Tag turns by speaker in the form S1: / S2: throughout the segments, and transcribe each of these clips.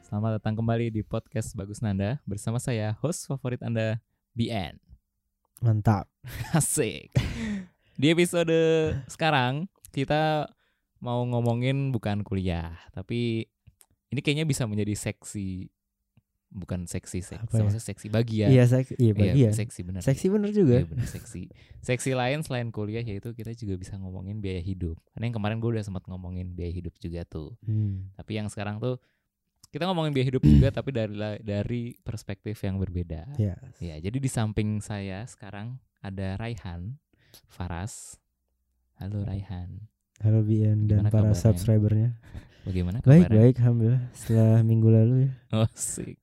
S1: Selamat datang kembali di podcast Bagus Nanda bersama saya host favorit Anda BN.
S2: Mantap.
S1: Asik. Di episode sekarang kita mau ngomongin bukan kuliah, tapi ini kayaknya bisa menjadi seksi bukan seksi seksi,
S2: Apa ya?
S1: maksudnya seksi bagian.
S2: Iya, seksi. Iya, bagi ya.
S1: seksi benar.
S2: Seksi bener juga.
S1: Iya, benar, seksi. Seksi lain selain kuliah yaitu kita juga bisa ngomongin biaya hidup. Karena yang kemarin gue udah sempat ngomongin biaya hidup juga tuh.
S2: Hmm.
S1: Tapi yang sekarang tuh kita ngomongin biaya hidup juga tapi dari la- dari perspektif yang berbeda.
S2: Ya.
S1: Ya, jadi di samping saya sekarang ada Raihan Faras. Halo Raihan.
S2: Halo Bian dan
S1: Gimana
S2: para
S1: kabarnya?
S2: subscribernya.
S1: Bagaimana
S2: Baik,
S1: kabarnya?
S2: baik. Alhamdulillah. Setelah minggu lalu ya.
S1: Oh, sik.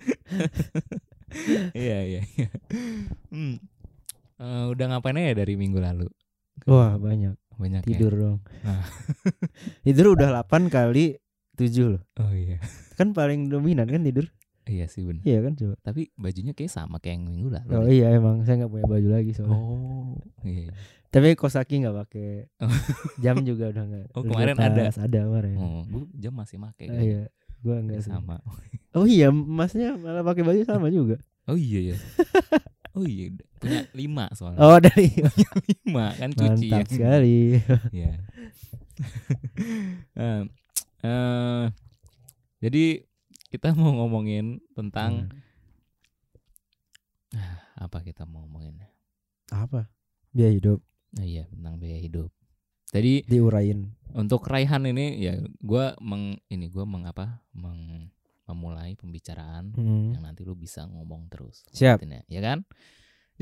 S1: Iya, iya, iya. Hmm. Eh, udah ngapain ya dari minggu lalu?
S2: Wah, banyak.
S1: Banyak ya?
S2: Tidur dong.
S1: Iya. Nah.
S2: tidur udah 8 kali 7 loh.
S1: Oh iya.
S2: Kan paling dominan kan tidur.
S1: Iya sih benar.
S2: Iya kan coba.
S1: Tapi bajunya kayak sama kayak yang minggu lalu.
S2: Oh
S1: deh.
S2: iya emang saya nggak punya baju lagi soalnya.
S1: Oh, iya.
S2: Tapi kosaki nggak pakai.
S1: Oh.
S2: Jam juga udah nggak.
S1: Oh,
S2: udah
S1: kemarin
S2: di
S1: ada.
S2: atas. Ada kemarin.
S1: Oh, gua jam masih make.
S2: Ah, iya. Gua enggak
S1: Kayak
S2: sih.
S1: sama.
S2: Oh iya, masnya malah pakai baju sama juga.
S1: Oh iya ya. Oh iya, punya lima soalnya.
S2: Oh dari
S1: Lima kan cuci ya.
S2: mantap sekali.
S1: Iya. Em, eh, jadi kita mau ngomongin tentang
S2: Hmm.
S1: apa kita mau ngomongin? Hmm.
S2: apa biaya hidup
S1: Oh iya, tentang biaya hidup. Jadi
S2: diurain
S1: untuk Raihan ini ya gua meng ini gua mengapa meng, memulai pembicaraan
S2: Hmm.
S1: yang nanti lu bisa ngomong terus.
S2: siap
S1: Artinya, ya kan?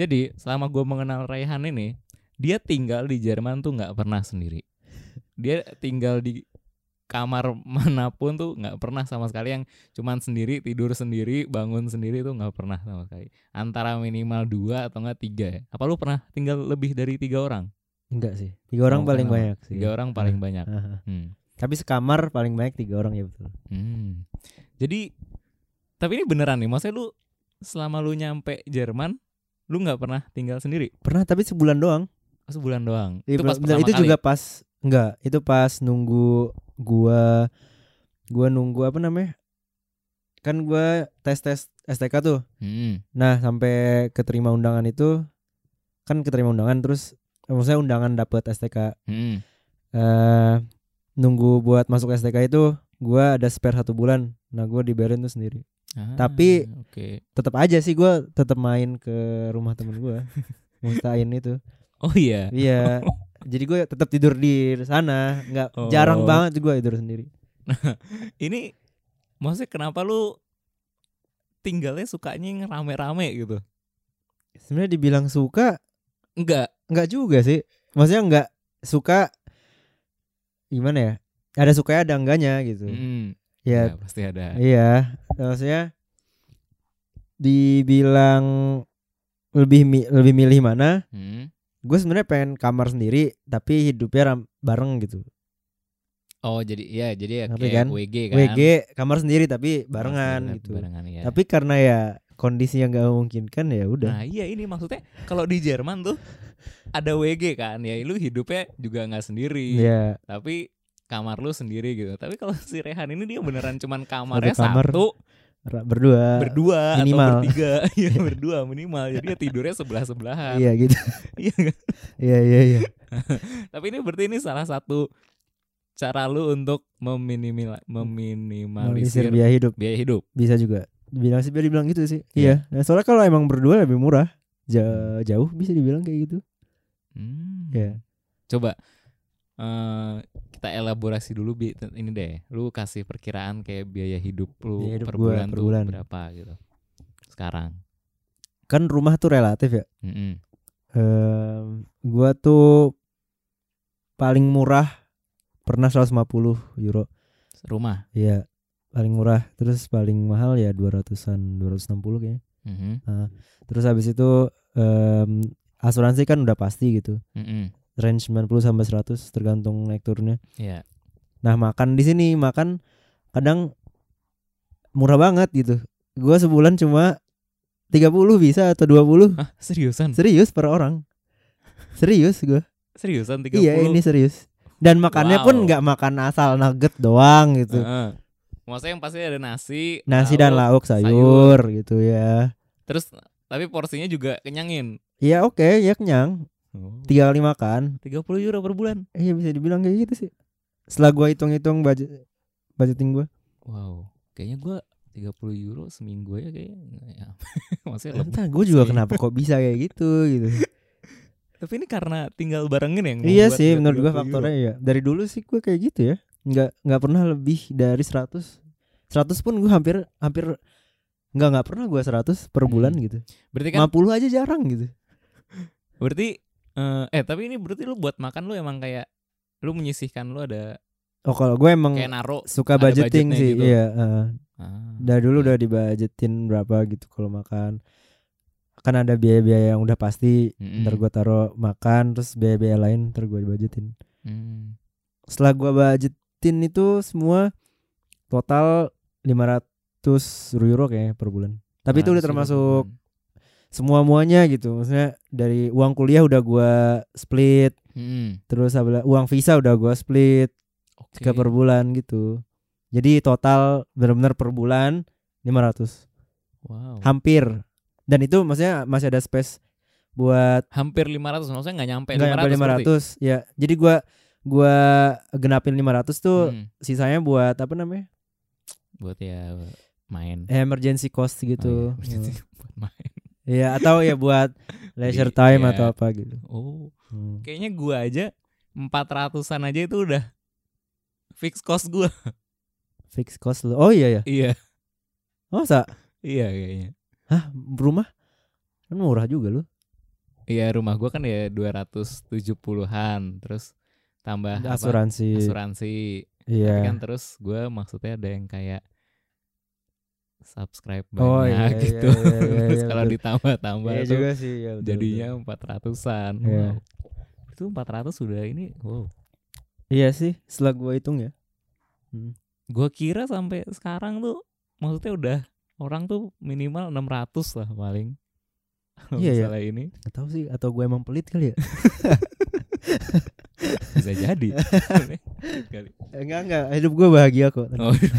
S1: Jadi selama gue mengenal Raihan ini, dia tinggal di Jerman tuh nggak pernah sendiri. Dia tinggal di kamar manapun tuh nggak pernah sama sekali yang cuman sendiri tidur sendiri bangun sendiri tuh nggak pernah sama sekali. Antara minimal dua atau nggak tiga. ya. Apa lu pernah tinggal lebih dari tiga orang?
S2: enggak sih tiga orang
S1: Kamu
S2: paling
S1: kenal?
S2: banyak sih
S1: Tiga orang paling banyak.
S2: Iya. Aha.
S1: Hmm.
S2: tapi sekamar paling banyak tiga orang ya betul
S1: Hmm. Jadi tapi ini beneran nih, maksudnya lu selama lu nyampe Jerman lu nggak pernah tinggal sendiri
S2: pernah tapi sebulan doang
S1: Oh, sebulan doang. pas
S2: Iya, bulan- bener,
S1: pertama
S2: itu
S1: kali?
S2: juga pas enggak itu pas nunggu gua gua nunggu apa namanya kan gua tes tes STK tuh
S1: Mm-mm.
S2: nah sampai keterima undangan itu kan keterima undangan terus eh, maksudnya undangan dapet STK
S1: Mm-mm.
S2: eh nunggu buat masuk STK itu gua ada spare satu bulan nah gua diberin tuh sendiri
S1: Ah,
S2: Tapi-
S1: oke.
S2: tetap aja sih gua tetap main ke rumah temen gua mustain itu
S1: Oh iya.
S2: iya jadi gue tetap tidur di sana nggak
S1: Oh.
S2: jarang banget gua tidur sendiri
S1: Ini maksudnya kenapa lu tinggalnya sukanya yang rame-rame gitu?
S2: sebenarnya dibilang suka
S1: Enggak.
S2: nggak juga sih maksudnya nggak suka gimana ya ada sukanya ada enggaknya gitu
S1: Mm.
S2: ya
S1: Ya, pasti ada.
S2: Iya, maksudnya dibilang lebih mi- lebih milih mana?
S1: Mm.
S2: Gue sebenarnya pengen kamar sendiri, tapi hidupnya ram- bareng gitu.
S1: Oh jadi ya jadi ya
S2: Ngerti
S1: kayak
S2: kan?
S1: WG kan.
S2: WG kamar sendiri tapi barengan
S1: Pasti ada
S2: gitu.
S1: Barengan ya.
S2: Tapi karena ya kondisi yang gak memungkinkan ya udah.
S1: Nah iya ini maksudnya kalau di Jerman tuh ada WG kan ya lu hidupnya juga nggak sendiri
S2: Ya,
S1: tapi kamar lu sendiri gitu tapi kalau si Rehan ini dia beneran cuman kamarnya
S2: kamar.
S1: satu
S2: Ya, ra- berdua.
S1: berdua
S2: minimal.
S1: atau bertiga ya berdua minimal jadi dia tidurnya sebelah sebelahan
S2: Iya gitu.
S1: Iya kan?
S2: Iya iya iya.
S1: tapi ini berarti ini salah satu cara lu untuk meminimal meminimalisir
S2: Minimalisir
S1: biaya.
S2: biaya hidup
S1: hidup
S2: bisa juga. Dibilang sih biar dibilang gitu sih.
S1: Iya.
S2: Iya. Nah, soalnya kalau emang berdua lebih murah. Ja- jauh bisa dibilang kayak gitu.
S1: Hmm.
S2: Iya.
S1: coba eh, kita elaborasi dulu Bi. ini deh lu kasih perkiraan kayak biaya hidup lu
S2: Biaya hidup
S1: per
S2: gua
S1: bulan
S2: per
S1: tuh
S2: bulan.
S1: berapa gitu sekarang
S2: Kan rumah tuh relatif ya.
S1: Mm-mm.
S2: Ehm, gua tuh paling murah pernah 150 euro.
S1: rumah
S2: Iya, paling murah. Terus paling mahal ya 200-an, 260 kayaknya.
S1: Mhm.
S2: Terus habis itu em, asuransi kan udah pasti gitu.
S1: Mm-mm.
S2: Range 90 sampai 100 tergantung naik turunnya.
S1: ya
S2: Nah, makan di sini makan kadang murah banget gitu. Gua sebulan cuma 30 bisa atau 20.
S1: Hah, seriusan
S2: Serius per orang. Serius gua.
S1: seriusan 30
S2: Iya ini serius. Iya, Dan makannya pun
S1: Wow. Eh,
S2: nggak makan asal nugget doang gitu.
S1: Heeh. Maksudnya yang pasti ada nasi,
S2: Nasi dan lauk sayur, gitu ya.
S1: Terus tapi porsinya juga kenyangin.
S2: Iya oke, ya kenyang.
S1: Oh.
S2: Tiga kali makan.
S1: 30 euro per bulan.
S2: Iya bisa dibilang kayak gitu sih. Setelah gua hitung-hitung budget budgeting gua.
S1: Wow, kayaknya gua 30 euro seminggu aja kayaknya. Ya. Maksudnya lebih.
S2: Entah gua juga
S1: sih.
S2: kenapa kok bisa kayak gitu gitu.
S1: Tapi ini karena tinggal barengin yang
S2: iya
S1: membuat
S2: sih
S1: dia
S2: menurut gua
S1: 30 euro.
S2: faktornya ya. Dari dulu sih gua kayak gitu ya. Nggak nggak pernah lebih dari 100. 100 pun gua hampir hampir nggak nggak pernah gua 100 per bulan
S1: Hmm.
S2: gitu.
S1: Berarti kan
S2: 50 aja jarang gitu.
S1: berarti eh, eh tapi ini berarti lu buat makan lu emang kayak lu menyisihkan lu ada
S2: Oh kalau gue emang
S1: kayak naro
S2: suka
S1: ada
S2: budgeting
S1: budgetnya
S2: sih,
S1: gitu.
S2: iya. heeh.
S1: Ah,
S2: dari dulu
S1: iya.
S2: udah dibudgetin berapa gitu kalau makan. Kan ada biaya-biaya yang udah pasti.
S1: Mm-mm.
S2: Ntar gue taruh makan, terus biaya-biaya lain ntar gue budgetin.
S1: Hmm.
S2: Setelah gue budgetin itu semua total 500 euro kayaknya per bulan. Tapi itu udah
S1: 100 euro
S2: termasuk
S1: per bulan.
S2: semua muanya gitu. Maksudnya dari uang kuliah udah gue split,
S1: Mm-mm.
S2: terus abla- uang visa udah gue split.
S1: Hmm, Oke.
S2: tiga per bulan gitu jadi total benar-benar per bulan 500
S1: Wow.
S2: hampir dan itu maksudnya masih ada space buat
S1: Hampir 500 maksudnya nggak nyampe
S2: nggak
S1: 500.
S2: nyampe
S1: berarti?
S2: 500 ya jadi gua gua genapin 500 tuh
S1: Hmm.
S2: sisanya buat apa namanya
S1: Buat ya main.
S2: emergency cost Eh,
S1: Oh,
S2: gitu
S1: iya. buat main.
S2: ya atau ya buat leisure time
S1: Iya.
S2: atau apa gitu
S1: Oh.
S2: Hmm.
S1: kayaknya gua aja 400-an aja itu udah fix cost gua.
S2: fix cost lu oh iya ya
S1: Iya,
S2: masa
S1: iya kayaknya.
S2: hah rumah kan murah juga lu
S1: Iya, rumah gua kan ya 270-an, terus tambah apa?
S2: asuransi
S1: Asuransi. Tapi
S2: iya
S1: kan terus gua maksudnya ada yang kayak subscribe banyak
S2: Oh, iya, iya,
S1: gitu.
S2: iya, iya,
S1: terus
S2: iya,
S1: kalau
S2: betul.
S1: ditambah-tambah
S2: Iya
S1: tuh
S2: juga sih iya, betul, betul.
S1: jadinya 400-an.
S2: Iya.
S1: Wow. Itu 400 sudah ini. Wow.
S2: Iya sih, setelah gue hitung ya.
S1: Gua kira sampai sekarang tuh maksudnya udah orang tuh minimal 600 lah paling. Kalau
S2: Iya, iya.
S1: misalnya ini
S2: Gak tau sih, atau gue emang pelit kali ya?
S1: bisa jadi. Kali.
S2: enggak, enggak. Eh, Hidup gue bahagia kok.
S1: Oh, iya.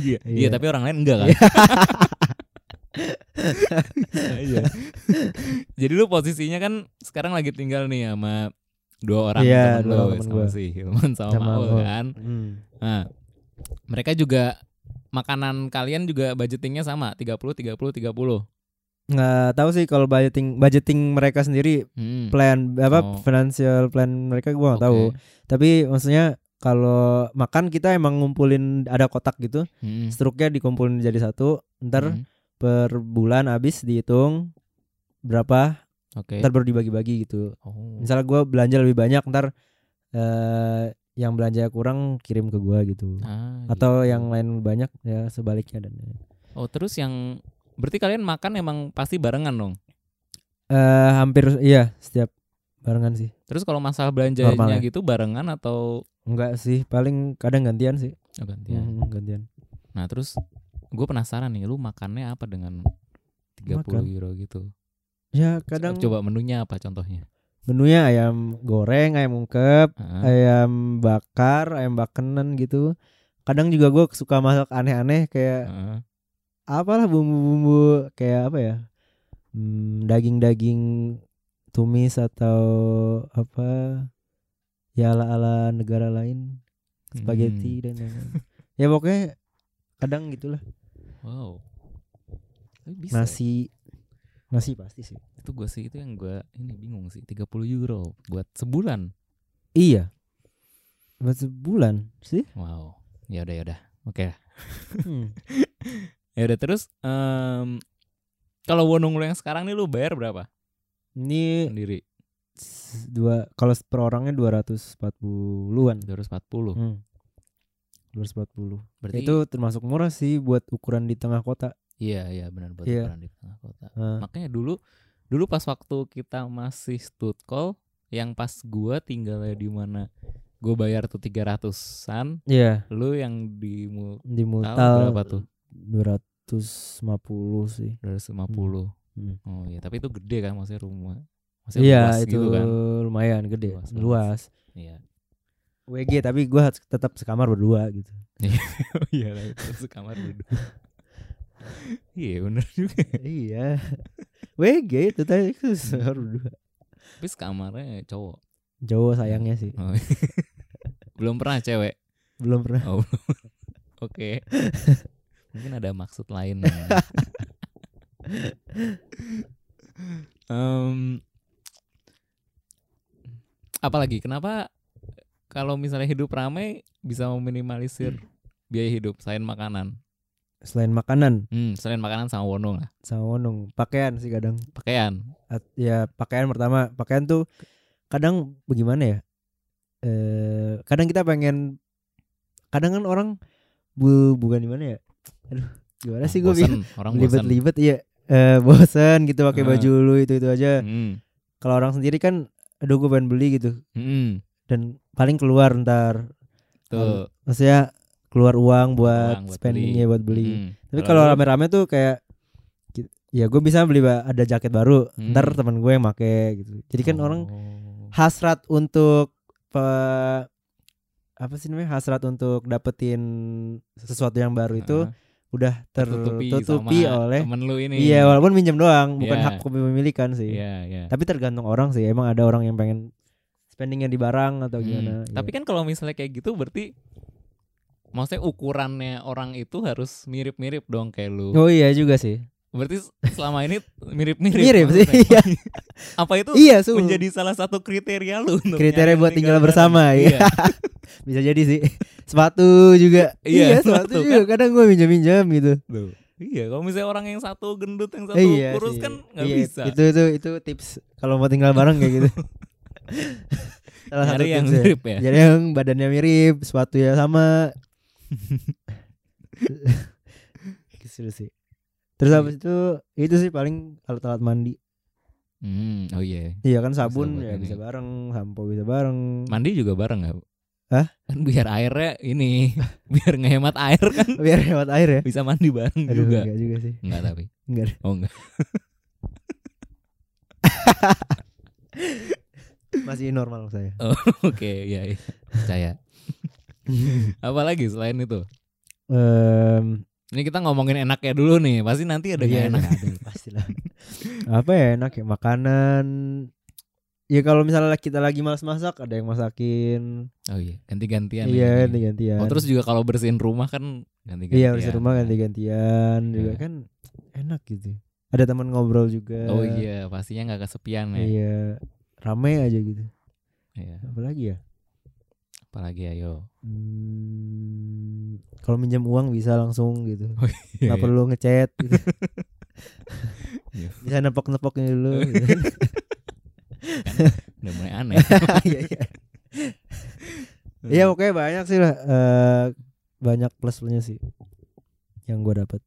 S1: Iya,
S2: Iya.
S1: tapi orang lain enggak kan. Iya. Jadi lu posisinya kan sekarang lagi tinggal nih sama dua orang
S2: Iya,
S1: temen lu,
S2: dua orang temen
S1: sama
S2: gua.
S1: si Hilman sama,
S2: Sama
S1: Maul
S2: Maul.
S1: kan.
S2: Hmm.
S1: Nah, mereka juga makanan kalian juga budgetingnya sama 30 30 30.
S2: Nggak tahu sih kalau budgeting budgeting mereka sendiri
S1: Hmm.
S2: plan apa
S1: Oh.
S2: financial plan mereka gue nggak
S1: oke.
S2: tahu. Tapi maksudnya kalau makan kita emang ngumpulin ada kotak gitu,
S1: Hmm.
S2: struknya dikumpulin jadi satu. Ntar
S1: Hmm.
S2: per bulan habis dihitung berapa,
S1: Oke.
S2: ntar baru dibagi-bagi gitu.
S1: Oh.
S2: misalnya gue belanja lebih banyak ntar eh yang belanja kurang kirim ke gua gitu
S1: Ah,
S2: atau
S1: gitu.
S2: yang lain banyak ya sebaliknya dan
S1: Oh, terus yang berarti kalian makan emang pasti barengan dong.
S2: eh hampir iya setiap barengan sih
S1: Terus kalau masalah belanjanya
S2: Normal ya.
S1: gitu barengan atau
S2: enggak sih paling kadang gantian sih
S1: Oh, gantian.
S2: Mm, gantian
S1: Nah, terus gue penasaran nih lu makannya apa dengan 30
S2: Makan.
S1: euro gitu.
S2: ya kadang
S1: coba menunya apa contohnya?
S2: menunya ayam goreng ayam ungkep
S1: Heeh.
S2: ayam bakar ayam bakenan gitu kadang juga gue suka masak aneh-aneh kayak
S1: heeh.
S2: apalah bumbu-bumbu kayak apa ya Hmm, daging-daging tumis atau apa ya ala-ala negara lain
S1: Hmm.
S2: spaghetti dan lain-lain ya pokoknya kadang gitulah
S1: Hmm. Wow. Tapi Bisa. ya?
S2: nasi nasi pasti sih
S1: Itu gue sih itu yang gue ini bingung sih 30 euro buat sebulan.
S2: iya buat sebulan sih
S1: Wow. Ya udah ya udah. Oke.
S2: Hmm.
S1: Ya udah terus em kalau wonung lu yang sekarang nih lu bayar berapa
S2: ini
S1: sendiri?
S2: s- dua kalau per orangnya 240-an
S1: 240.
S2: hmm. 240
S1: Berarti
S2: itu termasuk murah sih buat ukuran di tengah kota
S1: iya iya benar buat
S2: Iya.
S1: ukuran di tengah kota.
S2: Heeh.
S1: Makanya dulu dulu pas waktu kita masih stud call yang pas gua tinggalnya di mana gua bayar tuh 300-an,
S2: iya
S1: lu yang di mu-
S2: di
S1: tahun
S2: Multal
S1: berapa tuh?
S2: 250 sih.
S1: 250.
S2: Hmm.
S1: Oh iya, tapi itu gede kan maksudnya rumah. Maksudnya
S2: Iya,
S1: luas
S2: itu
S1: gitu kan.
S2: lumayan gede,
S1: Luas
S2: luas.
S1: banget. Iya.
S2: WG tapi gue tetap sekamar berdua gitu.
S1: Oh iya lah, itu sekamar duduk. Iya bener juga.
S2: iya. WG itu tadi itu sekamar berdua.
S1: Tapi sekamarnya cowok.
S2: Jauh sayangnya sih.
S1: Oh. Belum pernah cewek.
S2: Belum pernah.
S1: Oh. belum. Oke. Mungkin ada maksud lain. Em, apalagi kenapa kalau misalnya hidup ramai bisa meminimalisir biaya hidup selain makanan.
S2: Selain makanan
S1: Hmm, selain makanan sama wono lah.
S2: sama wonong, pakaian sih kadang.
S1: Pakaian.
S2: At- ya pakaian pertama, pakaian tuh kadang bagaimana ya? Eh kadang kita pengen kadang kan orang bu, bukan gimana ya? Aduh, gimana sih gue
S1: Bosen, orang bosan.
S2: libet-libet iya eh bosan gitu pakai
S1: Ah.
S2: baju lu itu itu
S1: Hmm.
S2: aja kalau orang sendiri kan aduh gue pengen beli gitu dan paling keluar ntar
S1: Hmm, Tuh.
S2: maksudnya keluar uang buat,
S1: Uang buat
S2: spendingnya buat beli
S1: Mm.
S2: tapi kalau
S1: lu-
S2: rame-rame tuh kayak ki- ya gue bisa beli ba- ada jaket baru
S1: Hmm.
S2: ntar teman gue yang make gitu jadi kan orang
S1: Oh.
S2: hasrat untuk pe- apa sih namanya hasrat untuk dapetin sesuatu yang baru itu
S1: Ah,
S2: udah tertutupi,
S1: sama
S2: oleh
S1: temen lu ini.
S2: Iya walaupun minjem doang bukan
S1: Iya.
S2: hak kepemilikan sih.
S1: Iya, iya.
S2: Tapi tergantung orang sih. Emang ada orang yang pengen spendingnya di barang atau
S1: Hmm.
S2: gimana. gitu. iya.
S1: Tapi kan kalau misalnya kayak gitu berarti maksudnya ukurannya orang itu harus mirip-mirip dong kayak lu.
S2: oh iya juga sih.
S1: Berarti selama ini mirip-mirip.
S2: Mirip sih.
S1: maksudnya.
S2: Iya
S1: Apa itu
S2: iya su.
S1: menjadi salah satu kriteria lu untuk
S2: kriteria
S1: nyari
S2: buat tinggal
S1: bareng?
S2: bersama ya.
S1: Iya.
S2: Bisa jadi sih. Sepatu juga.
S1: Iya,
S2: sepatu
S1: sepatu
S2: juga. Kadang gue minjem-minjem gitu.
S1: Tuh. Iya, kalau misalnya orang yang satu gendut, yang satu
S2: iya.
S1: kurus
S2: sih.
S1: kan nggak
S2: Iya,
S1: bisa.
S2: Itu itu itu tips kalau mau tinggal bareng kayak gitu. Salah satu
S1: Nyari
S2: Iya.
S1: yang
S2: tipsnya.
S1: mirip ya.
S2: Jadi yang badannya mirip, sepatu ya sama. gitu sih.
S1: Iya.
S2: Terus habis itu itu sih paling alat-alat mandi.
S1: Hmm, oh iya.
S2: Iya kan sabun
S1: Bisa buat
S2: ya
S1: ini.
S2: bisa bareng, sampo bisa bareng.
S1: Mandi juga bareng nggak? Bu?
S2: Hah?
S1: Kan biar airnya ini, biar ngehemat air kan
S2: Biar lewat air ya.
S1: bisa mandi bareng
S2: Aduh,
S1: juga.
S2: iya. enggak juga sih.
S1: Enggak tapi.
S2: Enggak. ada.
S1: Oh enggak.
S2: Masih normal saya.
S1: Oke, iya iya. Percaya. Apalagi selain itu.
S2: Em,
S1: Ini kita ngomongin enaknya dulu nih. Pasti nanti ada
S2: iya,
S1: yang enak.
S2: nggak ada, pastilah. Apa ya enak ya makanan. Ya kalau misalnya kita lagi malas masak ada yang masakin.
S1: Oh iya, ganti-gantian.
S2: Iya,
S1: ini.
S2: ganti-gantian.
S1: Oh, terus juga kalau bersihin rumah kan ganti-gantian.
S2: Iya harus di rumah ganti-gantian juga
S1: Iya.
S2: kan enak gitu. Ada teman ngobrol juga.
S1: Oh iya, pastinya nggak kesepian ya.
S2: Iya. Rame aja gitu.
S1: Iya.
S2: Apalagi ya?
S1: Apalagi ayo.
S2: Hmm, kalau minjam uang bisa langsung gitu.
S1: Oh,
S2: Nggak
S1: iya.
S2: perlu ngechat gitu.
S1: Iya.
S2: bisa nepok-nepoknya dulu gitu.
S1: Udah mulai aneh.
S2: Iya, iya. Iya, pokoknya banyak sih lah Eh, banyak plus plusnya sih yang gua dapat.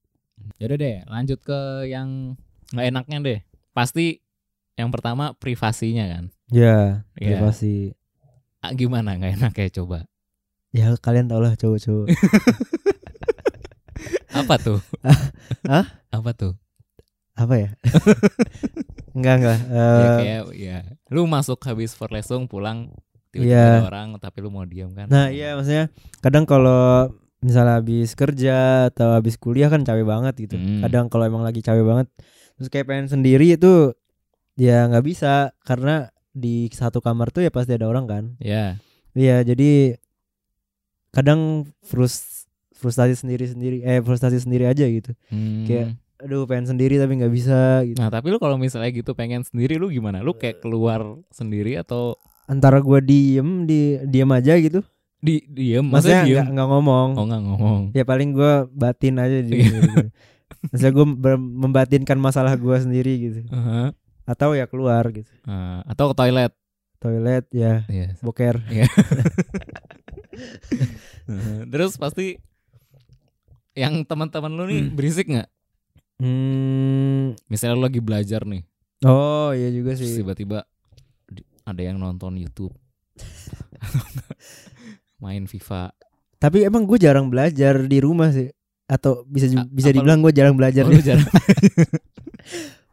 S1: Yaudah Ya deh, lanjut ke yang nggak enaknya deh. Pasti yang pertama privasinya kan.
S2: Ya,
S1: Iya.
S2: privasi.
S1: Ah, gimana nggak enak kayak coba?
S2: Ya kalian tau lah cowok-cowok.
S1: Apa tuh?
S2: Hah?
S1: Apa tuh?
S2: apa ya? enggak enggak.
S1: ya
S2: Eh,
S1: kayak ya, lu masuk habis Forlesung pulang tiba-tiba
S2: Iya.
S1: ada orang tapi lu mau diam kan?
S2: Nah iya maksudnya kadang kalau misalnya habis kerja atau habis kuliah kan capek banget gitu.
S1: Hmm.
S2: Kadang kalau emang lagi capek banget terus kayak pengen sendiri itu ya nggak bisa karena di satu kamar tuh ya pasti ada orang kan.
S1: Ya,
S2: Iya jadi kadang frus frustasi sendiri sendiri eh frustasi sendiri aja gitu.
S1: hmm.
S2: Kayak- Aduh pengen sendiri tapi nggak bisa gitu.
S1: Nah tapi lu kalau misalnya gitu pengen sendiri lu gimana? Lu kayak keluar sendiri atau
S2: Antara gua diem di diem aja gitu.
S1: di diem? Maksudnya, diem?
S2: Maksudnya nggak nggak ngomong.
S1: Oh nggak ngomong.
S2: ya paling gua batin aja di gitu. Maksudnya gue membatinkan masalah gua sendiri gitu
S1: Aha.
S2: atau ya keluar gitu
S1: Eh, atau ke toilet?
S2: toilet ya
S1: Iya.
S2: boker
S1: Heeh. Terus pasti yang teman-teman lu nih berisik nggak?
S2: hmm.
S1: Misalnya lu lagi belajar nih,
S2: oh iya juga
S1: terus
S2: sih
S1: tiba-tiba di- ada yang nonton YouTube, Atau nggak main FIFA.
S2: tapi emang gue jarang belajar di rumah sih atau bisa ju-
S1: A-
S2: bisa
S1: apa Oh, lu-
S2: dibilang gue jarang belajar
S1: Oh, lu jarang.
S2: ya.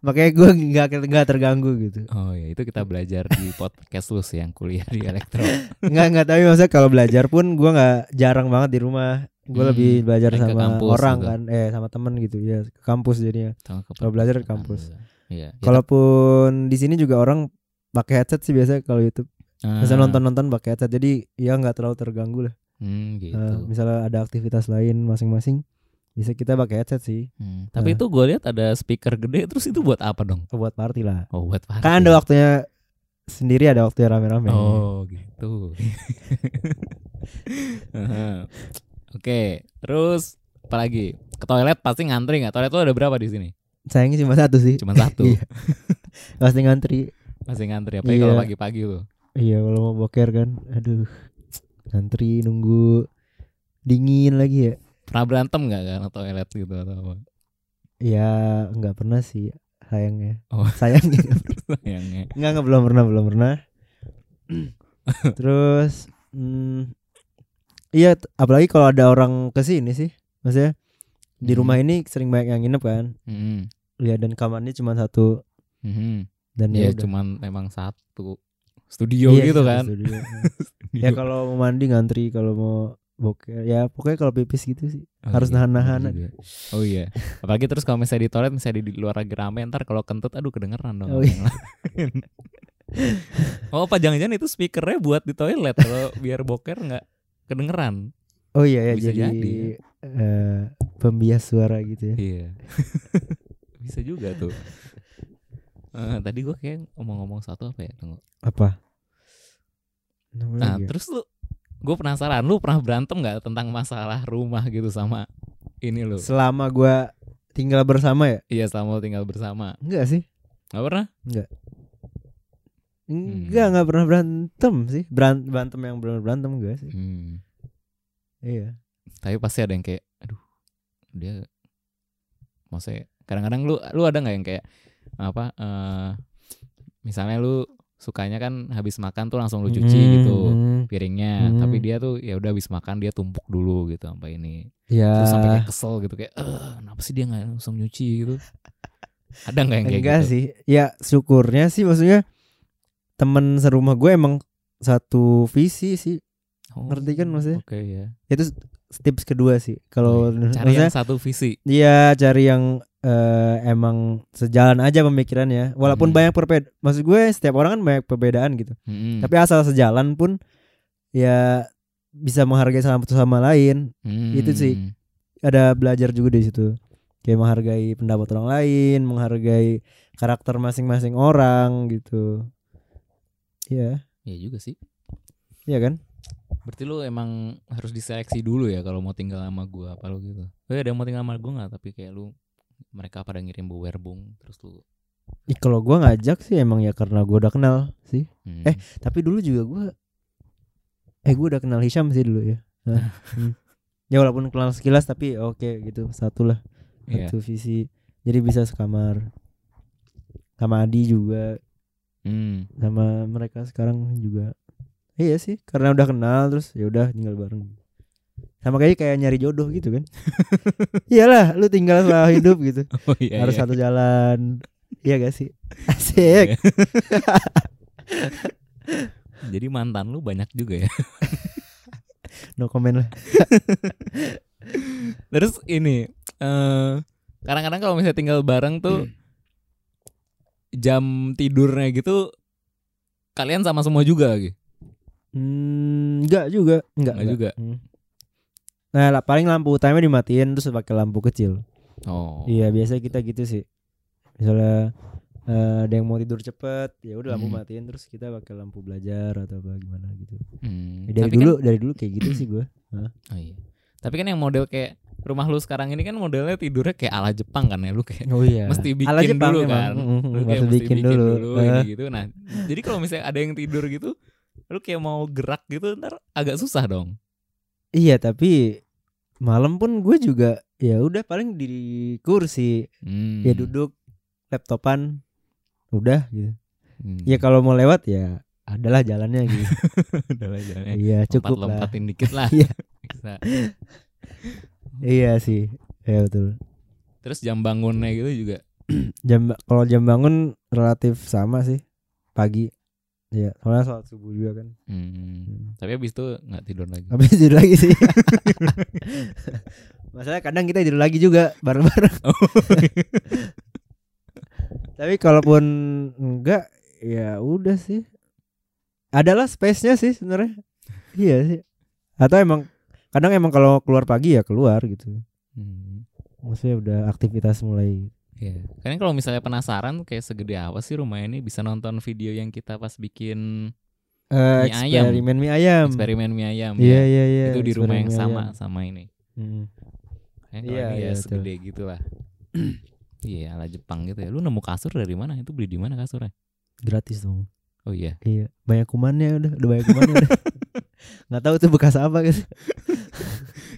S2: makanya gue nggak nggak terganggu gitu
S1: Oh ya itu kita belajar di podcast lu sih yang kuliah di
S2: Iya.
S1: elektro.
S2: nggak nggak tapi maksudnya kalau belajar pun gue nggak jarang banget di rumah gue
S1: Hmm,
S2: lebih belajar
S1: paling ke
S2: sama
S1: kampus
S2: orang
S1: gitu.
S2: kan eh sama temen gitu ya ke kampus jadinya
S1: Sama ke-
S2: Kalau belajar ke kampus.
S1: Iya. Ya,
S2: Gitu. kalaupun di sini juga orang pakai headset sih biasanya kalau YouTube
S1: ah,
S2: Biasanya nonton nonton pakai headset jadi ya nggak terlalu terganggu lah
S1: hmm, gitu.
S2: Eh, misalnya ada aktivitas lain masing-masing bisa kita pakai headset sih
S1: Hmm, Tapi
S2: eh.
S1: itu gue lihat ada speaker gede terus itu buat apa dong?
S2: buat party lah
S1: Oh buat party.
S2: kan ada waktunya sendiri ada waktunya rame-rame
S1: Oh gitu. Aha. Oke, terus apa lagi? Ke toilet pasti ngantri nggak? Toilet lo ada berapa di sini?
S2: sayangnya cuma satu sih
S1: Cuma satu.
S2: Iya. pasti ngantri
S1: Masih ngantri. Apalagi kalau
S2: Iya.
S1: pagi-pagi lo.
S2: Iya kalau mau boker kan Aduh Ngantri nunggu Dingin lagi ya
S1: Pernah berantem nggak karena toilet gitu atau apa?
S2: Ya nggak pernah sih Sayangnya
S1: Oh.
S2: Sayangnya
S1: Sayangnya.
S2: Enggak enggak belum pernah Belum pernah Terus hmm, Iya t- apalagi kalau ada orang kesini sih Maksudnya Di
S1: Mhm.
S2: rumah ini sering banyak yang nginep kan
S1: Mhm.
S2: Iya dan kamarnya cuma satu
S1: Mhm.
S2: Dan
S1: Ya,
S2: ya, udah.
S1: cuman memang satu studio
S2: Iya,
S1: gitu
S2: satu
S1: kan.
S2: studio. ya kalau mau mandi ngantri Kalau mau boker Ya pokoknya kalau pipis gitu sih
S1: Oh,
S2: harus
S1: iya,
S2: nahan-nahan
S1: bener juga. Oh iya. Apalagi terus kalau misalnya di toilet misalnya di luar lagi rame ntar kalau kentut aduh kedengeran dong.
S2: Oh,
S1: sama yang lain. oh apa jangan-jangan itu speakernya buat di toilet kalau biar boker nggak kedengeran.
S2: Oh iya ya
S1: Bisa
S2: jadi,
S1: jadi, ya.
S2: eh, pembias suara gitu ya.
S1: Iya. Bisa juga tuh. Eh, tadi gue kayak ngomong-ngomong satu apa ya
S2: Oh,
S1: tunggu.
S2: Apa?
S1: Nah
S2: Namanya
S1: terus lu gue penasaran lu pernah berantem nggak tentang masalah rumah gitu sama ini lu?
S2: Selama gua tinggal bersama ya?
S1: Iya selama lu tinggal bersama.
S2: Enggak sih.
S1: Gak pernah?
S2: Enggak,
S1: Hmm.
S2: enggak pernah berantem sih. Beran- berantem yang benar berantem enggak sih.
S1: Hmm.
S2: Iya.
S1: tapi pasti ada yang kayak aduh dia maksudnya kadang-kadang lu lu ada nggak yang kayak apa eh misalnya lu sukanya kan habis makan tuh langsung lu cuci
S2: Hmm,
S1: gitu
S2: hmm.
S1: piringnya tapi
S2: Hmm.
S1: dia tuh ya udah habis makan dia tumpuk dulu gitu sampai ini
S2: Ya.
S1: terus sampai kayak kesel gitu kayak eh kenapa sih dia nggak langsung nyuci gitu ada nggak yang kayak
S2: enggak
S1: gitu
S2: sih. Ya syukurnya sih maksudnya temen serumah gue emang satu visi sih.
S1: Oh,
S2: Ngerti kan maksudnya?
S1: oke ya
S2: Itu s- tips kedua sih.
S1: Oh,
S2: Kalau
S1: iya. cari
S2: maksudnya-
S1: yang satu visi
S2: Iya cari yang eh, emang sejalan aja pemikirannya Walaupun
S1: Hmm.
S2: banyak perbedaan Maksud gue setiap orang kan banyak perbedaan gitu
S1: Mm-mm.
S2: Tapi asal sejalan pun Ya bisa menghargai sama satu sama lain itu sih.
S1: Mm.
S2: Ada belajar juga di situ Kayak menghargai pendapat orang lain Menghargai karakter masing-masing orang gitu Iya
S1: ya juga sih
S2: Iya kan
S1: Berarti lu emang harus diseleksi dulu ya kalau mau tinggal sama gua apa lu gitu. Oh ya, ada yang mau tinggal sama gua nggak? Tapi kayak lu mereka pada ngirim werbung terus lu.
S2: Ih, Kalau gue ngajak sih emang ya karena gue udah kenal sih
S1: Hmm.
S2: Eh. Tapi dulu juga gue Eh gue udah kenal Hisham sih dulu ya Hah, hmm. Ya walaupun kenal sekilas tapi oke gitu Satu lah
S1: Iya.
S2: Satu visi Jadi bisa sekamar Sama Adi juga
S1: Hmm.
S2: Sama mereka sekarang juga Iya sih karena udah kenal Terus ya udah tinggal bareng Sama kayak kayak nyari jodoh gitu kan Iyalah lu tinggal selama hidup gitu
S1: Oh iya. iya.
S2: Harus satu jalan Iya gak sih
S1: Iya.
S2: Asik
S1: Jadi mantan lu banyak juga ya.
S2: No comment lah
S1: Terus ini eh kadang-kadang kalau misalnya tinggal bareng tuh jam tidurnya gitu kalian sama semua juga gitu.
S2: Hmm, enggak juga, enggak,
S1: Enggak juga.
S2: Hmm. Nah, lah, paling lampu utama dimatiin terus pakai lampu kecil.
S1: Oh.
S2: Iya, biasa kita gitu sih. Misalnya eh, ada yang mau tidur cepet, ya udah lampu
S1: Hmm.
S2: matiin terus kita pakai lampu belajar atau apa gimana gitu.
S1: Hmm.
S2: Ya, dari
S1: Tapi kan-
S2: dulu, dari dulu kayak gitu sih gua.
S1: Oh iya. Tapi kan yang model kayak rumah lu sekarang ini kan modelnya tidurnya kayak ala Jepang kan ya lu kayak
S2: Oh iya.
S1: mesti bikin
S2: Ala Jepang
S1: dulu
S2: memang.
S1: kan.
S2: Mm,
S1: Lu
S2: mm,
S1: kayak
S2: mesti bikin dulu.
S1: ini
S2: Eh.
S1: gitu. Nah, jadi kalau misalnya ada yang tidur gitu lu kayak mau gerak gitu ntar agak susah dong.
S2: Iya, tapi malam pun gue juga ya udah paling di kursi,
S1: Hmm.
S2: ya duduk laptopan udah gitu.
S1: Hmm.
S2: Ya kalau mau lewat ya adalah jalannya gitu.
S1: Udah lah, jangan ya.
S2: Iya cukup lah.
S1: Lompat-lompatin dikit lah.
S2: Iya.
S1: Bisa.
S2: Iya sih. Ya betul.
S1: Terus jam bangunnya gitu juga
S2: jam kalau jam bangun relatif sama sih pagi ya soalnya sholat subuh juga kan
S1: Hmm. Tapi abis itu nggak tidur lagi.
S2: tapi tidur lagi sih masalah kadang kita tidur lagi juga bareng-bareng
S1: Oh, iya.
S2: tapi kalaupun enggak ya udah sih adalah space-nya sih sebenarnya iya sih atau emang kadang emang kalau keluar pagi ya keluar gitu
S1: Hmm.
S2: maksudnya udah aktivitas mulai
S1: Iya. Karena kalau misalnya penasaran tuh kayak segede apa sih rumah ini bisa nonton video yang kita pas bikin
S2: eh
S1: Mie ayam.
S2: eksperimen mie ayam
S1: eksperimen mie ayam.
S2: iya
S1: ya.
S2: iya iya
S1: Itu di rumah
S2: eksperimen
S1: yang
S2: mie
S1: sama
S2: ayam.
S1: sama ini.
S2: Mm.
S1: Kayaknya kalau
S2: Iya,
S1: ini ya
S2: iya,
S1: segede gitu lah. Iya ala Jepang gitu ya. Lu nemu kasur dari mana? Itu beli di mana kasurnya?
S2: gratis dong
S1: Oh iya.
S2: Iya, banyak kumannya udah, udah banyak kumannya. udah. Nggak tahu tuh bekas apa gitu. guys.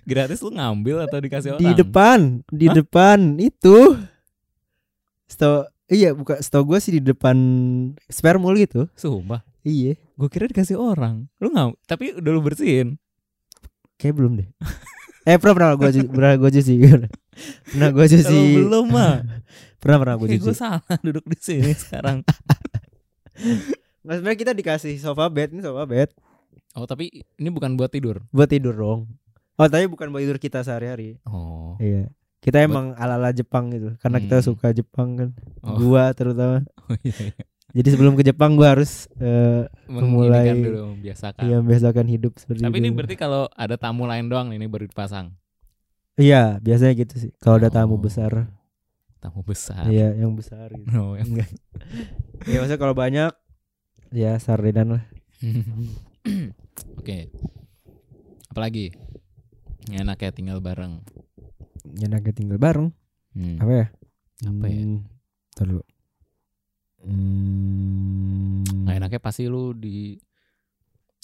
S1: Gratis lu ngambil atau dikasih orang?
S2: Di depan, di
S1: Hah?
S2: depan itu. Sto iya buka sto gue sih di depan spare mall gitu.
S1: Sumpah.
S2: Iya,
S1: Gue kira dikasih orang. Lu nggak? Tapi udah lu bersihin.
S2: kayak belum deh. eh pernah pernah gue cuci, pernah gue cuci. pernah gue cuci.
S1: Kalau belum mah.
S2: Pernah pernah gue
S1: Kayak
S2: cuci.
S1: gue salah duduk di sini sekarang.
S2: Mas sebenarnya kita dikasih sofa bed, ini sofa bed
S1: Oh tapi ini bukan buat tidur.
S2: buat tidur dong. Oh, tapi bukan buat tidur kita sehari-hari.
S1: Oh.
S2: Iya. Kita
S1: Buat-
S2: emang ala-ala Jepang gitu karena kita
S1: Hmm.
S2: suka Jepang kan.
S1: Oh.
S2: Gua terutama
S1: Oh iya. iya.
S2: Jadi sebelum ke Jepang gua harus eh
S1: Menginikan
S2: Memulai-
S1: dulu membiasakan.
S2: ya membiasakan hidup seperti
S1: Tapi
S2: itu.
S1: ini berarti kalau ada tamu lain doang nih, ini baru dipasang.
S2: Iya, biasanya gitu sih. Kalau ada tamu
S1: Oh. Ah.
S2: besar,
S1: Tamu besar.
S2: iya yang besar gitu.
S1: No, yang-
S2: ya
S1: Iya,
S2: maksudnya kalau banyak ya sardinan lah.
S1: Oke. Apalagi? Yang enak ya tinggal bareng.
S2: Enaknya Ya, tinggal bareng.
S1: Hmm.
S2: Apa ya?
S1: Apa ya?
S2: Hmm, ntar dulu. Hmm.
S1: Nggak enaknya pasti lu di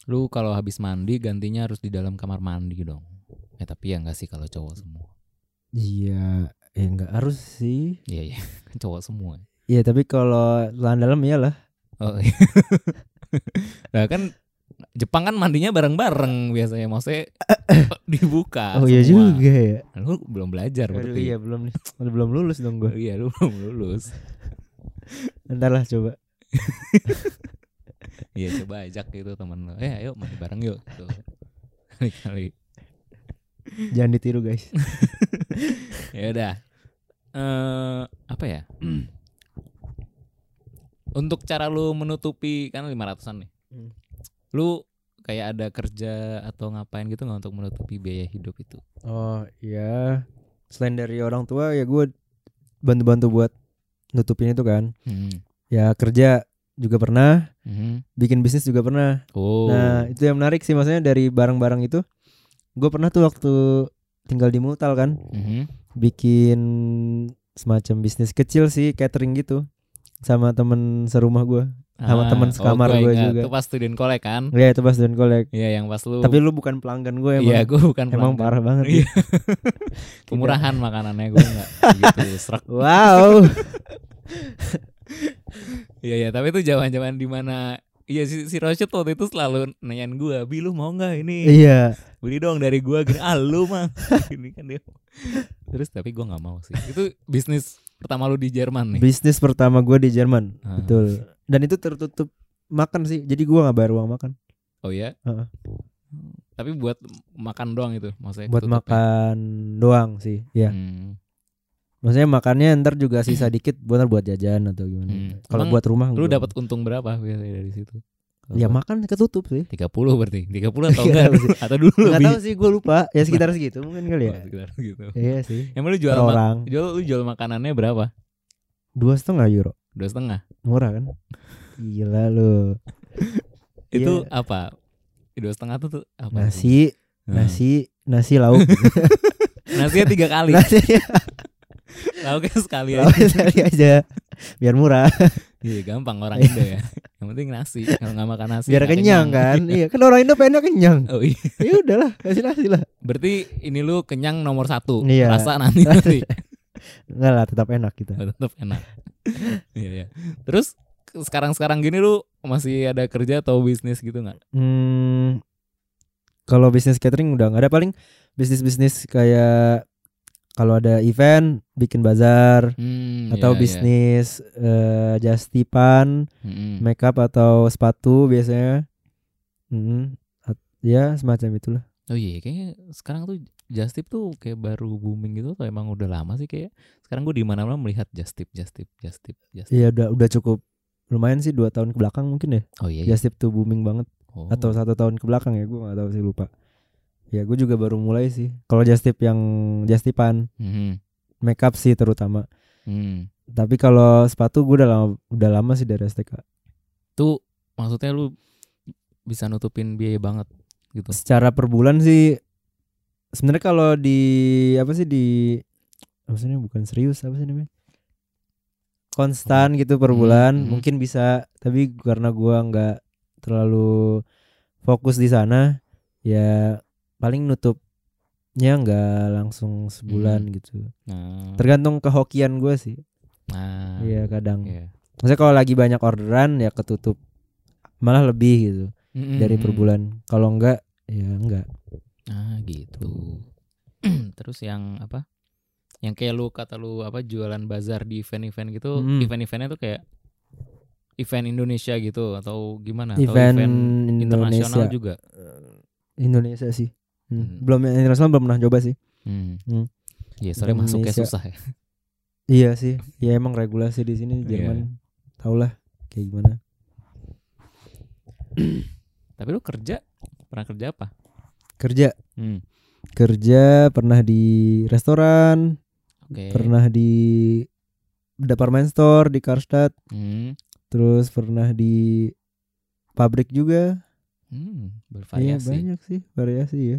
S1: lu kalau habis mandi gantinya harus di dalam kamar mandi dong. Eh tapi ya enggak sih kalau cowok semua.
S2: Iya, ya enggak harus sih.
S1: Iya iya, kan cowok semua.
S2: Iya, tapi kalau lahan dalam iyalah.
S1: Oh, iya. nah kan Jepang kan mandinya bareng-bareng biasanya maksudnya dibuka.
S2: oh
S1: Ah,
S2: iya
S1: semua.
S2: juga ya.
S1: Lu belum belajar
S2: Aduh,
S1: berarti.
S2: iya belum nih. belum lulus dong gua.
S1: Iya, lu belum lulus.
S2: Ntar lah coba.
S1: Iya coba ajak gitu temen lo Eh ayo mandi bareng yuk gitu. Kali-kali
S2: Jangan ditiru, guys.
S1: Ya udah eh Apa ya Untuk cara lu menutupi Kan 500an nih
S2: Hmm.
S1: Lu kayak ada kerja atau ngapain gitu nggak untuk menutupi biaya hidup itu
S2: Oh iya Selain dari orang tua ya gue bantu-bantu buat nutupin itu kan
S1: Hmm.
S2: Ya kerja juga pernah
S1: Mhm.
S2: Bikin bisnis juga pernah
S1: Oh
S2: Nah itu yang menarik sih maksudnya dari barang-barang itu Gue pernah tuh waktu tinggal di Mutal kan
S1: Mhm.
S2: Bikin semacam bisnis kecil sih catering gitu Sama temen serumah gue Sama
S1: Ah,
S2: temen
S1: oh,
S2: sekamar
S1: gua
S2: gue
S1: ingat.
S2: juga.
S1: Itu pas student kolek kan
S2: Ya itu pas dan kolek
S1: Iya yang pas lu
S2: Tapi lu bukan pelanggan gue emang
S1: Iya gue bukan
S2: Emang
S1: pelanggan.
S2: parah banget
S1: Iya. Kemurahan makanannya gue enggak gitu srek.
S2: Wow
S1: Iya iya, tapi itu zaman-zaman di mana Iya si, si Rosyid waktu itu selalu nanyain gue Bi lu mau gak ini
S2: Iya
S1: Beli dong dari gue Gini ah lu mah Gini kan dia Terus tapi gue gak mau sih Itu bisnis pertama lu di Jerman nih
S2: Bisnis pertama gue di Jerman,
S1: Ah.
S2: betul. Dan itu tertutup makan sih, jadi gue nggak bayar uang makan.
S1: Oh ya
S2: Heeh.
S1: Tapi buat makan doang itu Maksudnya
S2: Buat
S1: ketutup ya?
S2: makan doang sih, ya.
S1: Hmm.
S2: Maksudnya makannya ntar juga sisa dikit, bener buat jajan atau gimana.
S1: Hmm.
S2: Kalau
S1: Emang
S2: buat rumah,
S1: Lu
S2: gua-
S1: dapat untung berapa biasanya dari situ
S2: ya makan ketutup sih.
S1: 30 berarti 30 atau
S2: Iya,
S1: enggak
S2: sih.
S1: Atau dulu
S2: Nggak
S1: lebih
S2: tahu sih, gue lupa. Ya sekitar segitu mungkin kali ya.
S1: Oh, sekitar gitu.
S2: Iya sih.
S1: Emang lu
S2: Per
S1: jual ma-
S2: orang
S1: jual lu jual makanannya berapa?
S2: dua setengah euro,
S1: dua setengah
S2: murah kan? Gila lu.
S1: itu apa dua setengah tuh, tuh apa tuh?
S2: Iya. Nasi,
S1: Nah.
S2: nasi, nasi lauk.
S1: nasinya tiga kali
S2: nasi,
S1: lauknya sekali
S2: lauk
S1: aja
S2: sekali aja. Biar murah.
S1: iya gampang orang Indo ya yang penting nasi kalau nggak makan nasi
S2: biar
S1: nggak
S2: kenyang, kan iya kan orang Indo pengennya kenyang
S1: oh iya
S2: ya udahlah kasih nasi lah
S1: berarti ini lu kenyang nomor satu
S2: Iya.
S1: rasa nanti nanti
S2: enggak lah tetap enak gitu. kita
S1: tetap enak iya iya terus sekarang sekarang gini lu masih ada kerja atau bisnis gitu nggak
S2: hmm, kalau bisnis catering udah nggak ada paling bisnis bisnis kayak kalau ada event bikin bazar
S1: Hmm, iya, Hmm.
S2: atau
S1: iya.
S2: bisnis eh, jas tipan
S1: Mm-mm.
S2: makeup atau sepatu biasanya Mm-mm. At- ya semacam itulah
S1: Oh iya, kayaknya sekarang tuh Justip tuh kayak baru booming gitu atau emang udah lama sih kayak sekarang gue di mana-mana melihat Justip, Justip, Justip, Justip.
S2: iya udah udah cukup lumayan sih dua tahun kebelakang mungkin ya
S1: Oh iya, iya.
S2: jas tip tuh booming banget
S1: Oh.
S2: atau satu tahun kebelakang ya gue nggak tahu sih lupa ya gue juga baru mulai sih kalau jas tip yang jas tipan
S1: Mhm.
S2: makeup sih terutama
S1: Hmm.
S2: tapi kalau sepatu gue udah lama udah lama sih dari STK
S1: Tuh maksudnya lu bisa nutupin biaya banget gitu.
S2: secara per bulan sih sebenarnya kalau di apa sih di apa sih namanya? bukan serius apa sih namanya konstan gitu per
S1: Hmm,
S2: bulan
S1: hmm.
S2: mungkin bisa tapi karena gua nggak terlalu fokus di sana ya paling nutupnya nggak langsung
S1: Hmm.
S2: sebulan gitu
S1: Nah,
S2: tergantung kehokian gue sih
S1: nah.
S2: Iya kadang
S1: iya.
S2: maksudnya kalau lagi banyak orderan ya ketutup malah lebih gitu
S1: Mm-mm,
S2: dari per
S1: mm-mm.
S2: bulan kalau enggak ya enggak
S1: Ah gitu. Terus yang apa? Yang kayak lu kata lu apa jualan bazar di event-event gitu,
S2: Mm.
S1: event-eventnya tuh kayak event Indonesia gitu atau gimana?
S2: event,
S1: atau event internasional
S2: Indonesia
S1: juga.
S2: Indonesia sih Hmm.
S1: Hmm.
S2: belum yang internasional belum pernah coba sih
S1: Hmm.
S2: Hmm.
S1: Ya soalnya masuknya
S2: Indonesia.
S1: susah ya.
S2: iya sih ya emang regulasi di sini
S1: Iya.
S2: Jerman tau lah kayak gimana
S1: Tapi lu kerja pernah kerja apa?
S2: kerja
S1: Hmm.
S2: kerja pernah di restoran
S1: Oke.
S2: pernah di department store di Karstadt
S1: Hmm.
S2: terus pernah di pabrik juga
S1: Hmm,
S2: Iya
S1: bervariasi.
S2: banyak sih variasi ya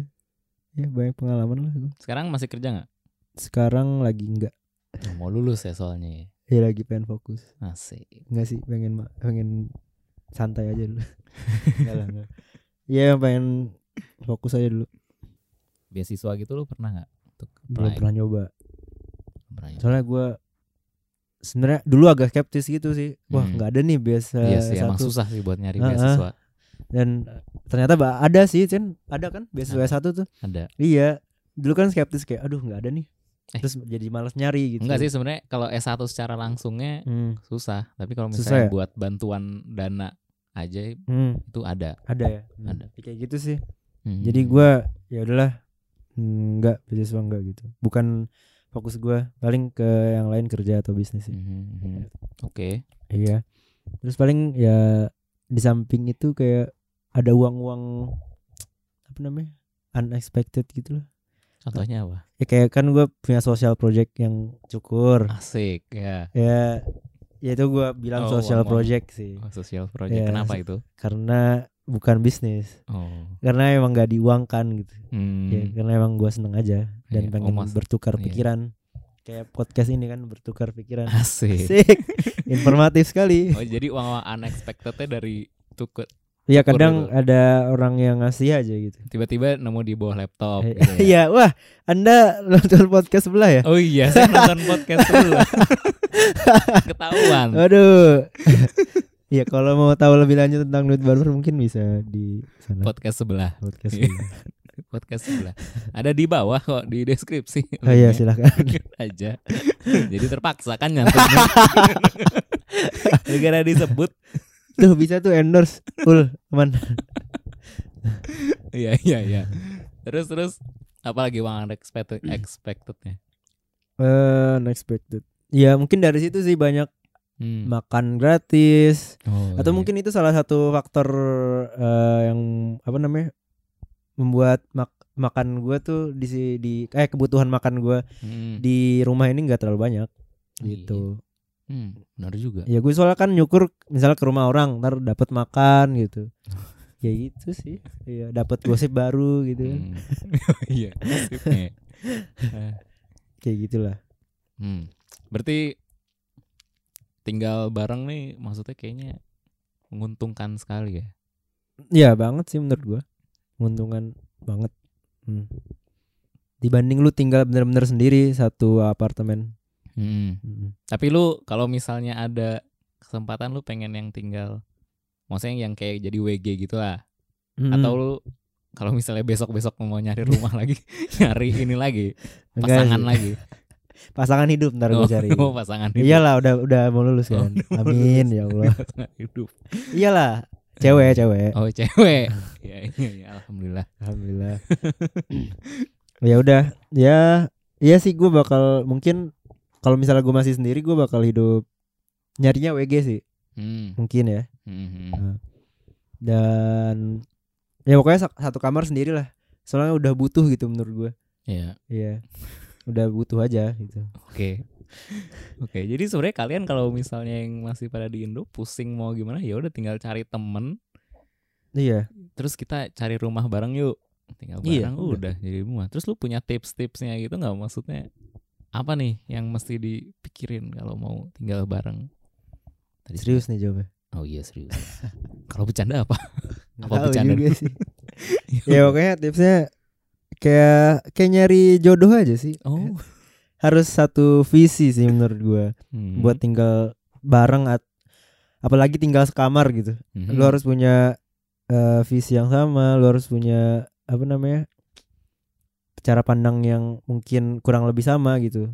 S2: ya banyak pengalaman lah gua.
S1: Sekarang masih kerja nggak?
S2: sekarang lagi enggak
S1: Oh, mau lulus ya soalnya. ya.
S2: ya lagi pengen fokus
S1: Asik.
S2: Enggak sih pengen ma- pengen santai aja dulu. Enggak lah enggak. Iya yang pengen fokus aja dulu.
S1: Beasiswa gitu lu pernah nggak? Untuk
S2: Belum
S1: apply?
S2: pernah nyoba.
S1: Pernah. ya?
S2: Soalnya gua sebenarnya dulu agak skeptis gitu sih. Wah,
S1: Hmm.
S2: nggak ada nih biasa
S1: Iya sih, emang
S2: satu.
S1: susah sih buat nyari
S2: Ah, ah.
S1: beasiswa.
S2: Dan ternyata ba- ada sih, Cen. Ada kan beasiswa
S1: Ada.
S2: satu tuh.
S1: Ada.
S2: Iya. Dulu kan skeptis kayak aduh nggak ada nih.
S1: Eh.
S2: Terus jadi malas nyari gitu.
S1: Enggak sih sebenarnya kalau S1 secara langsungnya
S2: Hmm.
S1: susah, tapi kalau
S2: Susah
S1: misalnya
S2: ya?
S1: buat bantuan dana aja
S2: Hmm,
S1: itu ada.
S2: ada ya. Hmm.
S1: Ada.
S2: Kayak gitu sih.
S1: Hmm.
S2: Jadi gua ya udahlah hmm, nggak beasiswa nggak gitu. Bukan fokus gua paling ke yang lain kerja atau bisnis sih.
S1: Mhm, mhm. Oke.
S2: Iya. Terus paling ya di samping itu kayak ada uang-uang apa namanya? unexpected gitu loh.
S1: Contohnya apa?
S2: Ya kayak kan gua punya social project yang cukur.
S1: Asik ya.
S2: Ya ya itu gua bilang
S1: Oh,
S2: social
S1: uang-uang.
S2: project sih
S1: Oh, Social project
S2: Ya,
S1: kenapa
S2: se-
S1: itu?
S2: karena bukan bisnis.
S1: Oh.
S2: Karena emang gak diuangkan gitu.
S1: Hmm.
S2: ya karena emang gua seneng aja dan
S1: Iya,
S2: pengen
S1: oh, mas-
S2: bertukar
S1: iya.
S2: pikiran kayak podcast ini kan bertukar pikiran
S1: Asik.
S2: Asik. informatif sekali
S1: Iya. Oh, jadi uang-uang unexpected-nya dari tukut
S2: ya
S1: syukur
S2: kadang
S1: gitu.
S2: ada orang yang ngasih aja gitu
S1: tiba-tiba nemu di bawah laptop
S2: Eh,
S1: gitu ya.
S2: Iya, wah anda nonton podcast sebelah ya
S1: Oh iya, saya nonton podcast dulu. Ketahuan.
S2: Oh. aduh Iya kalau mau tahu lebih lanjut tentang duit barber mungkin bisa di sana
S1: Podcast sebelah.
S2: podcast
S1: Iya.
S2: sebelah.
S1: podcast sebelah. Ada di bawah kok di deskripsi.
S2: Oh iya
S1: linknya.
S2: silakan.
S1: aja. Jadi terpaksa kan nyantum. Gara-gara disebut.
S2: Tuh bisa tuh endorse. Ul, aman.
S1: Iya iya iya. Terus terus apalagi uang unexpected expectednya.
S2: Eh, unexpected. Ya mungkin dari situ sih banyak
S1: Hmm.
S2: makan gratis,
S1: Oh,
S2: atau
S1: iya.
S2: mungkin itu salah satu faktor eh, yang apa namanya membuat mak- makan gue tuh di si- di eh kebutuhan makan gue
S1: Hmm.
S2: di rumah ini nggak terlalu banyak
S1: Iya.
S2: gitu
S1: Hmm, benar juga.
S2: ya gue soalnya kan nyukur misalnya ke rumah orang ntar dapat makan gitu ya gitu sih ya dapat gosip baru gitu kan.
S1: Hmm. Oh, iya. nasibnya. Eh,
S2: kayak gitulah
S1: Hmm. Berarti tinggal bareng nih maksudnya kayaknya menguntungkan sekali ya.
S2: ya banget sih menurut gue menguntungkan banget Hmm. dibanding lu tinggal bener-bener sendiri satu apartemen
S1: Hmm.
S2: Hmm.
S1: Tapi lu kalau misalnya ada kesempatan lu
S2: Hmm.
S1: pengen yang tinggal maksudnya yang kayak jadi WG gitu lah atau lu kalau misalnya besok-besok mau nyari rumah lagi, nyari ini lagi,
S2: Enggak
S1: pasangan
S2: sih.
S1: lagi.
S2: Pasangan hidup ntar
S1: Oh,
S2: gue cari.
S1: mau pasangan hidup.
S2: Iyalah udah udah mau lulus
S1: Oh,
S2: kan.
S1: udah mau
S2: Amin ya Allah.
S1: Pasangan hidup.
S2: Iyalah, cewek cewek.
S1: Oh, cewek. ya, iya, iya, alhamdulillah.
S2: Alhamdulillah. ya udah, ya iya sih gue bakal mungkin kalau misalnya gue masih sendiri gue bakal hidup nyarinya WG sih
S1: Hmm.
S2: mungkin ya.
S1: hmm,
S2: Nah, Dan ya pokoknya sa- satu kamar sendiri lah. Soalnya udah butuh gitu menurut gue.
S1: Ya,
S2: Iya. Udah butuh aja gitu.
S1: oke. Oke, jadi sebenarnya kalian kalau misalnya yang masih pada di Indo pusing mau gimana ya udah tinggal cari temen,
S2: Iya.
S1: terus kita cari rumah bareng yuk. Tinggal
S2: Iya,
S1: bareng udah jadi rumah. Terus lu punya tips-tipsnya gitu nggak maksudnya apa nih yang mesti dipikirin kalau mau tinggal bareng? Tadi
S2: Serius nih jawabnya.
S1: Oh iya serius. kalau bercanda apa?
S2: Nggak
S1: Apa
S2: tahu
S1: bercanda?
S2: juga sih. ya pokoknya tipsnya kayak kayak nyari jodoh aja sih.
S1: Oh.
S2: Harus satu visi sih menurut gua
S1: Hmm.
S2: buat tinggal bareng at apalagi tinggal sekamar gitu.
S1: Mhm.
S2: Lu harus punya eh, visi yang sama, lu harus punya apa namanya? cara pandang yang mungkin kurang lebih sama gitu.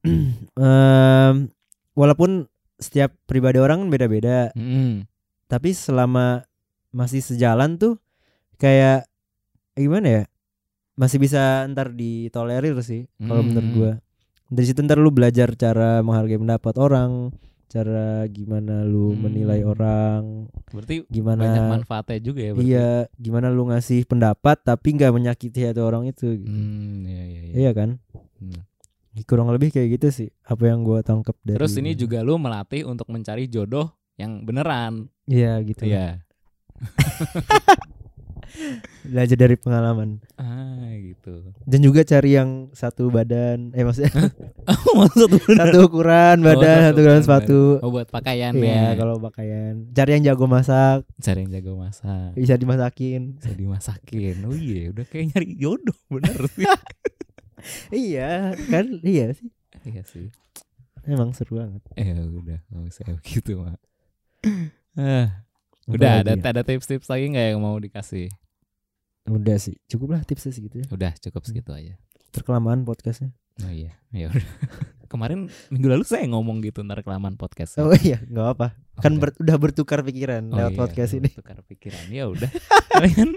S2: Em, walaupun setiap pribadi orang kan beda-beda
S1: Mhm.
S2: tapi selama masih sejalan tuh kayak eh, gimana ya masih bisa ntar ditolerir sih kalau
S1: Hmm.
S2: menurut gua dari situ ntar lu belajar cara menghargai pendapat orang cara gimana lu
S1: Hmm.
S2: menilai orang
S1: Berarti banyak
S2: gimana
S1: manfaatnya juga ya berarti.
S2: iya gimana lu ngasih pendapat tapi nggak menyakiti hati orang itu gitu.
S1: Hmm, iya iya iya.
S2: iya kan
S1: Hmm.
S2: kurang lebih kayak gitu sih apa yang gua tangkap dari
S1: Terus ini juga lu melatih untuk mencari jodoh yang beneran.
S2: iya gitu lah.
S1: Iya.
S2: belajar dari pengalaman
S1: Ah, gitu.
S2: dan juga cari yang satu badan eh maksudnya
S1: Maksud lu
S2: satu ukuran
S1: Oh, satu
S2: badan, satu ukuran
S1: ukuran
S2: sepatu.
S1: oh, buat pakaian
S2: Iya,
S1: ya.
S2: kalau pakaian. Cari yang jago masak,
S1: Cari yang jago masak,
S2: bisa dimasakin.
S1: bisa dimasakin. Oh iya, udah kayak nyari jodoh bener sih.
S2: iya, kan? Iya sih.
S1: iya sih.
S2: Emang seru banget.
S1: Eh udah, kalau misalnya begitu mah. Ah, gitu, udah ada
S2: Apalagi ya?
S1: ada tips-tips lagi nggak yang mau dikasih?
S2: Udah sih. Cukup lah tipsnya segitu ya.
S1: Udah cukup segitu aja.
S2: Terkelamaan podcastnya.
S1: Oh iya, ya udah. Kemarin minggu lalu saya ngomong gitu ntar kelamaan podcast.
S2: Oh iya, nggak apa. Kan
S1: Oke.
S2: ber- udah bertukar pikiran
S1: Oh
S2: lewat
S1: iya,
S2: podcast
S1: udah
S2: ini.
S1: Tukar pikiran ya udah. Kalian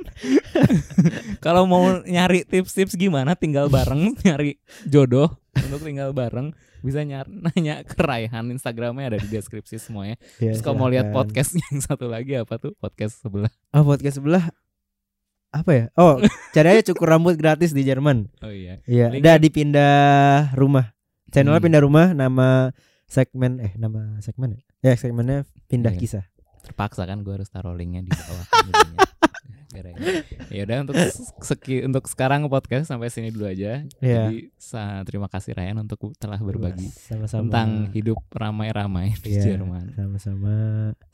S1: kalau mau nyari tips-tips gimana tinggal bareng, nyari jodoh untuk tinggal bareng bisa nyar- nanya ke Raihan Instagramnya ada di deskripsi semuanya.
S2: Ya,
S1: Terus kalau mau lihat
S2: silahkan.
S1: podcast yang satu lagi apa tuh podcast sebelah.
S2: Oh, podcast sebelah apa ya? Oh, cari aja cukur rambut gratis di Jerman.
S1: Oh iya.
S2: Iya,
S1: Link-
S2: udah dipindah rumah. Channelnya
S1: Hmm.
S2: pindah rumah, nama segmen eh nama segmen ya? Ya, segmennya pindah
S1: Iya.
S2: kisah.
S1: Terpaksa kan gue harus taruh linknya di bawah. kan Gara-gara. Ya udah untuk seki, untuk sekarang podcast sampai sini dulu aja.
S2: Iya.
S1: Jadi sa- terima kasih Raihan untuk telah berbagi
S2: sama-sama
S1: tentang hidup ramai-ramai di
S2: Iya.
S1: Jerman.
S2: sama-sama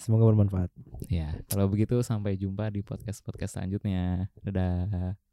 S2: semoga bermanfaat.
S1: Ya, kalau begitu sampai jumpa di podcast-podcast selanjutnya. Dadah.